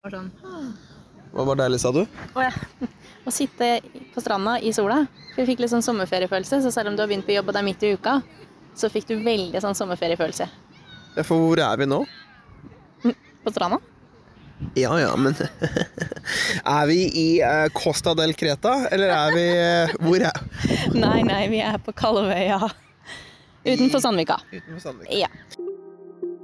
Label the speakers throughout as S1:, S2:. S1: Bare sånn
S2: Hva var deilig, sa du?
S1: Å ja. Å sitte på stranda i sola. For vi fikk litt sånn sommerferiefølelse. Så selv om du har begynt på jobb og det er midt i uka, så fikk du veldig sånn sommerferiefølelse.
S2: Ja, for hvor er vi nå?
S1: På stranda?
S2: Ja ja, men Er vi i eh, Costa del Creta, eller er vi eh, Hvor er
S1: Nei, nei, vi er på Kalvøya. Utenfor Sandvika.
S2: Utenfor Sandvika.
S1: Ja.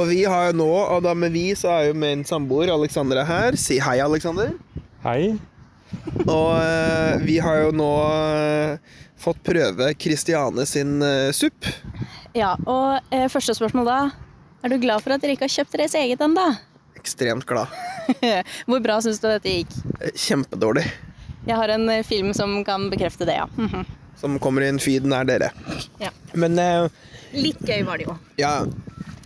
S2: Og vi har jo nå, og da med vi, så er jo min samboer Alexandra her. Si hei, Alexander.
S3: Hei.
S2: Og eh, vi har jo nå eh, fått prøve Christiane sin eh, supp.
S1: ja og eh, første spørsmål da. Er du glad for at dere ikke har kjøpt deres eget ennå?
S2: Ekstremt glad.
S1: Hvor bra syns du dette gikk?
S2: Eh, Kjempedårlig.
S1: Jeg har en eh, film som kan bekrefte det, ja. Mhm.
S2: Som kommer i en feed nær dere.
S1: Ja.
S2: Men eh,
S1: Litt gøy var det jo.
S2: ja,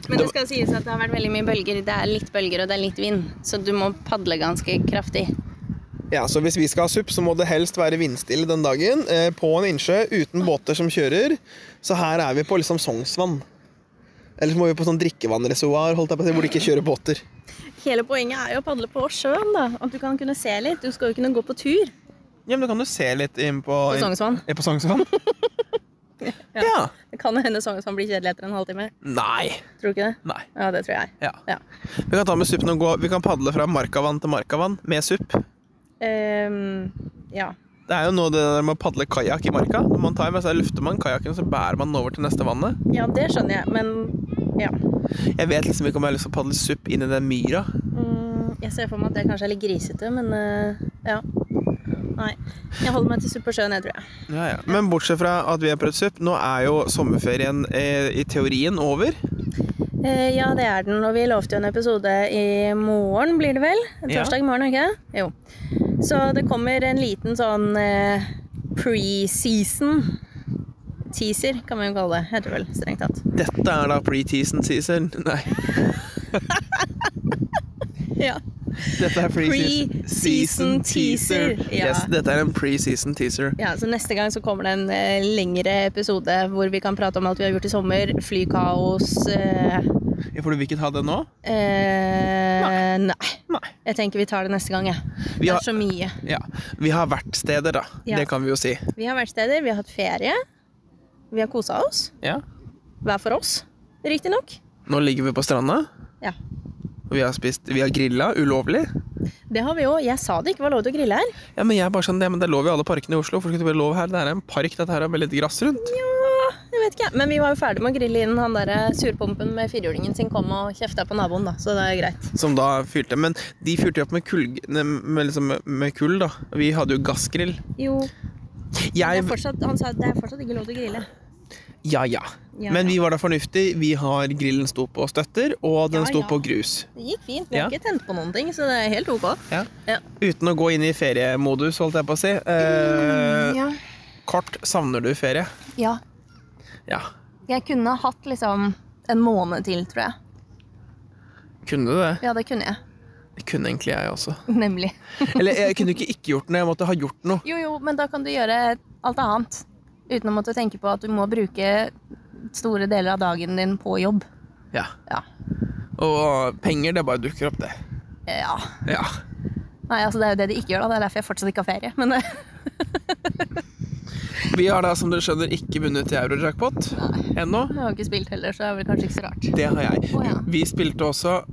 S1: Men det skal sies at det har vært veldig mye bølger. Det er litt bølger og det er litt vind, så du må padle ganske kraftig.
S2: ja, så hvis vi skal ha supp, så må det helst være vindstille den dagen. eh, På en innsjø uten båter som kjører. Så her er vi på liksom Sognsvann. Eller så må vi på sånn drikkevannreservoar, holdt jeg på å si, hvor det ikke kjører båter.
S1: Hele poenget er jo å padle på sjøen, da. At du kan kunne se litt. Du skal jo kunne gå på tur.
S2: Ja, men da kan du se litt inn på
S1: På Sognsvann.
S2: inn- På Sognsvann? ja.
S1: Det kan jo hende Sognsvann blir kjedelig etter en halvtime.
S2: Nei.
S1: Tror du ikke det?
S2: Nei.
S1: Ja, det tror jeg.
S2: Ja.
S1: Ja.
S2: Vi kan ta med suppen og gå. Vi kan padle fra markavann til markavann med supp.
S1: Ehm, ja.
S2: Det er jo noe det der med å padle kajakk i marka. Når man tar med seg løfter man kajakken, så bærer man den over til neste vannet.
S1: ja, det skjønner jeg, men ja.
S2: Jeg vet liksom ikke om jeg har lyst til å padle supp inn i den myra.
S1: Mm, jeg ser for meg at det kanskje er litt grisete, men eh, ja. Nei. Jeg holder meg til suppe på sjøen, jeg, tror jeg.
S2: Ja, ja. Men bortsett fra at vi har prøvd supp, nå er jo sommerferien eh, i teorien over.
S1: Eh, ja, det er den, og vi lovte jo en episode i morgen, blir det vel?
S2: Ja.
S1: Torsdag morgen, ikke? Jo. Så det kommer en liten sånn eh, pre-season teaser, kan man jo kalle det. Heter det vel, strengt tatt.
S2: Dette er da pre-teason season. Nei,
S1: Ja.
S2: dette er pre-season
S1: Pre-season teaser. Ja.
S2: Yes, dette er en pre-season teaser.
S1: Så neste gang så kommer det en eh, lengre episode hvor vi kan prate om alt vi har gjort i sommer. Flykaos eh,
S2: Ja, For du vil ikke ta det nå?
S1: eh, Nei.
S2: Nei.
S1: Jeg tenker vi tar det neste gang, jeg.
S2: Vi
S1: Det
S2: har-
S1: er så mye.
S2: Ja. Vi har vært steder, da.
S1: Ja.
S2: Det kan vi jo si.
S1: Vi har vært steder, vi har hatt ferie. Vi har kosa oss.
S2: Ja.
S1: Hver for oss, riktignok.
S2: Nå ligger vi på stranda.
S1: Ja.
S2: Vi har spist Vi har grilla ulovlig.
S1: Det har vi jo. Jeg sa det ikke var lov til å grille her.
S2: Ja, men jeg er bare sånn, ja, men Det er lov i alle parkene i Oslo. Hvorfor skulle det være lov her? Det er en park dette her er med litt gress rundt.
S1: Ja, jeg vet ikke. Men vi var jo ferdig med å grille innen han der eh, surpompen med firhjulingen sin kom og kjefta på naboen, da. Så det er greit.
S2: Som da fyrte. Men de fyrte jo opp med kull, ne, med, liksom, med kull, da. Vi hadde jo gassgrill.
S1: Jo,
S2: Jeg
S1: han sa det er fortsatt ikke lov til å grille.
S2: Ja, ja.
S1: Ja,
S2: Men
S1: ja.
S2: vi var da fornuftige. Vi har Grillen sto på støtter, og den
S1: Ja,
S2: sto
S1: ja.
S2: på grus.
S1: Det gikk fint. Vi har
S2: Ja.
S1: ikke tent på noen ting, så det er helt ok.
S2: Ja.
S1: Ja.
S2: Uten å gå inn i feriemodus, holdt jeg på å si. Eh,
S1: Mm, Ja.
S2: Kort, savner du ferie?
S1: ja.
S2: Ja.
S1: Jeg kunne hatt liksom en måned til, tror jeg.
S2: Kunne du det?
S1: Ja, det kunne jeg.
S2: Det kunne egentlig jeg også.
S1: Nemlig.
S2: Eller jeg kunne ikke ikke gjort noe, jeg måtte ha gjort noe.
S1: Jo, jo, men da kan du gjøre alt annet. Uten å måtte tenke på at du må bruke store deler av dagen din på jobb.
S2: Ja.
S1: Ja.
S2: Og penger, det bare dukker opp, det.
S1: Ja.
S2: Ja.
S1: Nei, altså det er jo det de ikke gjør, da. Det er derfor jeg fortsatt ikke har ferie. Men
S2: Vi har da, som dere skjønner, ikke vunnet i Eurojackpot ennå.
S1: jeg har ikke spilt heller, så det er vel kanskje ikke så rart.
S2: Det har jeg.
S1: Å, ja.
S2: Vi spilte også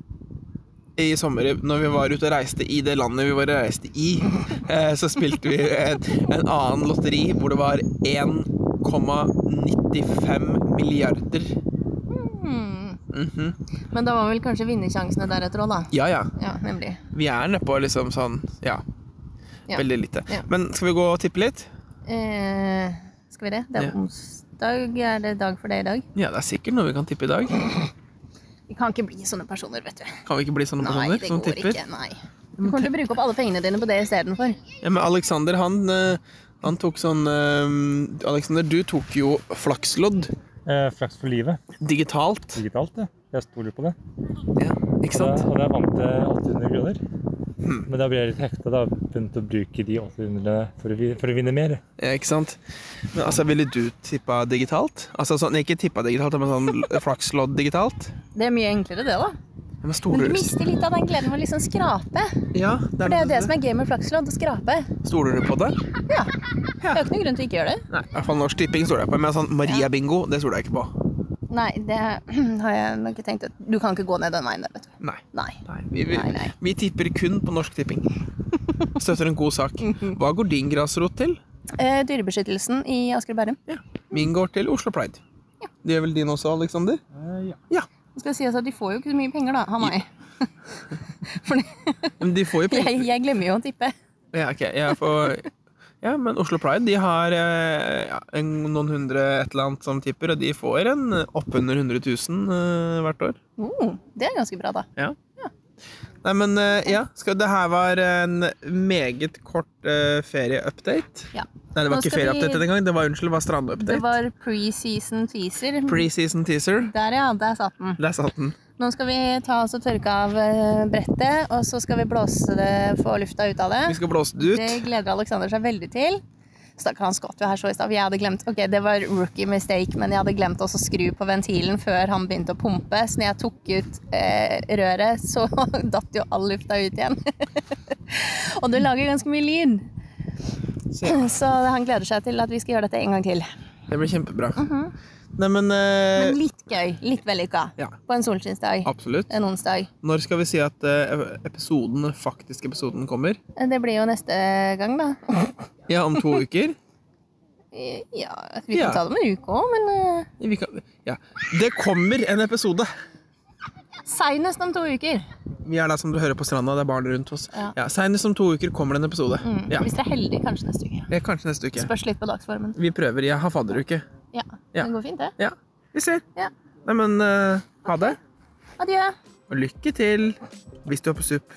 S2: i sommer, når vi var ute og reiste i det landet vi var og reiste i, eh, så spilte vi et, en annen lotteri hvor det var 1,95 milliarder.
S1: Hmm.
S2: Mhm.
S1: Men da var vel kanskje vinnersjansene deretter òg, da.
S2: Ja, ja.
S1: Ja, nemlig.
S2: Vi er nedpå liksom sånn ja.
S1: Ja.
S2: Veldig lite.
S1: Ja.
S2: Men skal vi gå og tippe litt?
S1: Eh, skal vi det? Det er
S2: Ja.
S1: onsdag. Er det dag for det i dag?
S2: Ja, det er sikkert noe vi kan tippe i dag.
S1: Vi kan ikke bli sånne personer, vet du. sånn
S2: Kan vi ikke bli sånne
S1: Nei,
S2: personer
S1: det
S2: som
S1: går
S2: tipper?
S1: ikke. Nei. Du kommer til å bruke opp alle pengene dine på det istedenfor.
S2: Ja, men Alexander, han, eh, han tok sånn eh, Alexander, du tok jo flakslodd
S3: Eh, flaks for livet.
S2: digitalt.
S3: Digitalt, det. Jeg stoler på det.
S2: Ja, ikke
S3: Og det,
S2: sant?
S3: og det vant jeg 800 kroner. Men da blir jeg litt hekta. Da begynte å bruke de 800 for å, vi- for å vinne mer.
S2: Ja, Ikke sant? Men altså, Ville du tippa digitalt? Altså sånn, Ikke tippa digitalt, men sånn flakslodd digitalt?
S1: Det er mye enklere, det, da.
S2: Ja, Men
S1: Men
S2: stoler
S1: du
S2: du
S1: mister litt av den gleden ved å liksom skrape.
S2: Ja,
S1: For det er jo det som er gøy med flakslodd, å skrape.
S2: Stoler du på det?
S1: Ja. Det er jo ikke noen grunn til å ikke gjøre det.
S2: Nei, i hvert fall Norsk Tipping stoler jeg på. Men sånn Maria Bingo, det stoler jeg ikke på.
S1: Nei, det har jeg nok ikke tenkt. at- Du kan ikke gå ned den veien der, vet du.
S2: Nei.
S1: Nei.
S2: Nei, vi, vi,
S1: Nei, nei.
S2: vi tipper kun på Norsk Tipping. Støtter en god sak. Hva går din grasrot til?
S1: Eh, dyrebeskyttelsen i Asker og Bærum.
S2: Ja. Min går til Oslo Pride. Det gjør vel din også, Aleksander?
S3: ja.
S2: Ja.
S1: Det skal sies at de får jo ikke så mye penger, da, av meg. For det-
S2: Men de får jo penger.
S1: jeg, jeg glemmer jo å tippe.
S2: Ja, ok. Jeg får... Ja, men Oslo Pride de har eh, ja, en, noen hundre et eller annet som tipper, og de får en eh, oppunder 100 000 eh, hvert år.
S1: Oh, det er ganske bra, da.
S2: Nei, men eh, ja, skal, det her var en meget kort eh, ferieupdate.
S1: Ja.
S2: Nei, det
S1: Nå
S2: var ikke
S1: skal
S2: ferieupdate
S1: vi-
S2: denne gang, det var, unnskyld, det var
S1: Det
S2: strandupdate.
S1: var preseason teaser.
S2: Preseason teaser.
S1: Der, ja. Der satt den.
S2: Der satt den.
S1: Nå skal vi ta oss og tørke av eh, brettet, og så skal vi blåse det, få lufta ut av
S2: Vi
S1: det.
S2: skal blåse det ut.
S1: Det gleder Aleksander seg veldig til. Stakkar, han skvatt jo her så i stad. for Jeg hadde glemt Ok, det var rookie mistake, men jeg hadde glemt også å skru på ventilen før han begynte å pumpe. Så når jeg tok ut eh, røret, så datt jo all lufta ut igjen. og du lager ganske mye lyd.
S2: Så, ja,
S1: Så han gleder seg til at vi skal gjøre dette en gang til.
S2: det blir kjempebra. Nei, men,
S1: Mhm.
S2: eh,
S1: Men litt gøy. Litt vellykka.
S2: Ja.
S1: På en solskinnsdag.
S2: absolutt.
S1: En onsdag.
S2: Når skal vi si at eh, episoden, den faktiske episoden kommer?
S1: Det blir jo neste gang, da.
S2: Ja, om to uker.
S1: Ja, vi kan
S2: Ja.
S1: ta det om en uke òg, men eh,
S2: Vi kan, ja. Det kommer en episode!
S1: seinest om to uker.
S2: Vi er der som du hører på stranda, det er barn rundt oss.
S1: Ja.
S2: Ja, Senest om to uker kommer det en episode.
S1: Mm.
S2: Ja.
S1: Hvis dere er heldige, kanskje neste uke.
S2: Ja, kanskje neste uke.
S1: Spørs litt på dagsformen.
S2: Vi prøver. Jeg har fadderuke.
S1: Ja,
S2: Ja.
S1: Det går fint, det.
S2: Ja, vi ser.
S1: Ja.
S2: Nei, men eh, ha det.
S1: Adjø.
S2: Og lykke til hvis du er på SUP.